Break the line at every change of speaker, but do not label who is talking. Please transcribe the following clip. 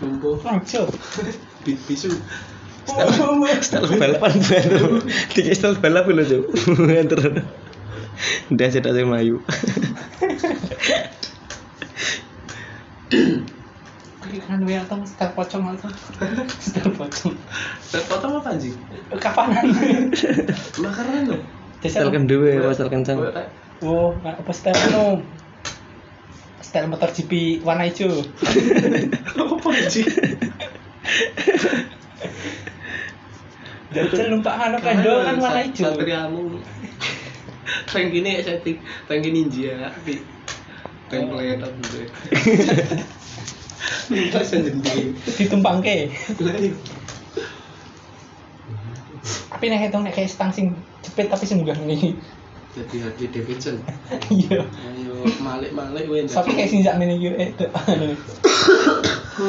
lumpuh
Langsung.
bi- bisu
Setel balapan baru. Tiga setel kan. balap lho, Cuk. Kan, Terus. Udah cedak sing melayu.
Kan ya tong setel pocong atau setel pocong.
Tet potong apa anjing
Kapanan?
lah keren loh
Setel kendue, setel Iya, kencang.
Gua tak-
Oh, nah, apa setel anu? Setel motor GP warna hijau.
apa anjing
Jajal numpak anu kendo kan warna hijau.
Satriamu. Tank ini setting tank ninja tapi tank pelayanan gue. Minta sendiri.
Ditumpangke.
Lain.
Tapi nek itu nek kayak stang sing jepit tapi sing munggah ngene.
Jadi Harley Davidson.
Iya.
Ayo malik-malik gue.
Tapi kayak sing sak ngene iki eh, itu, anu.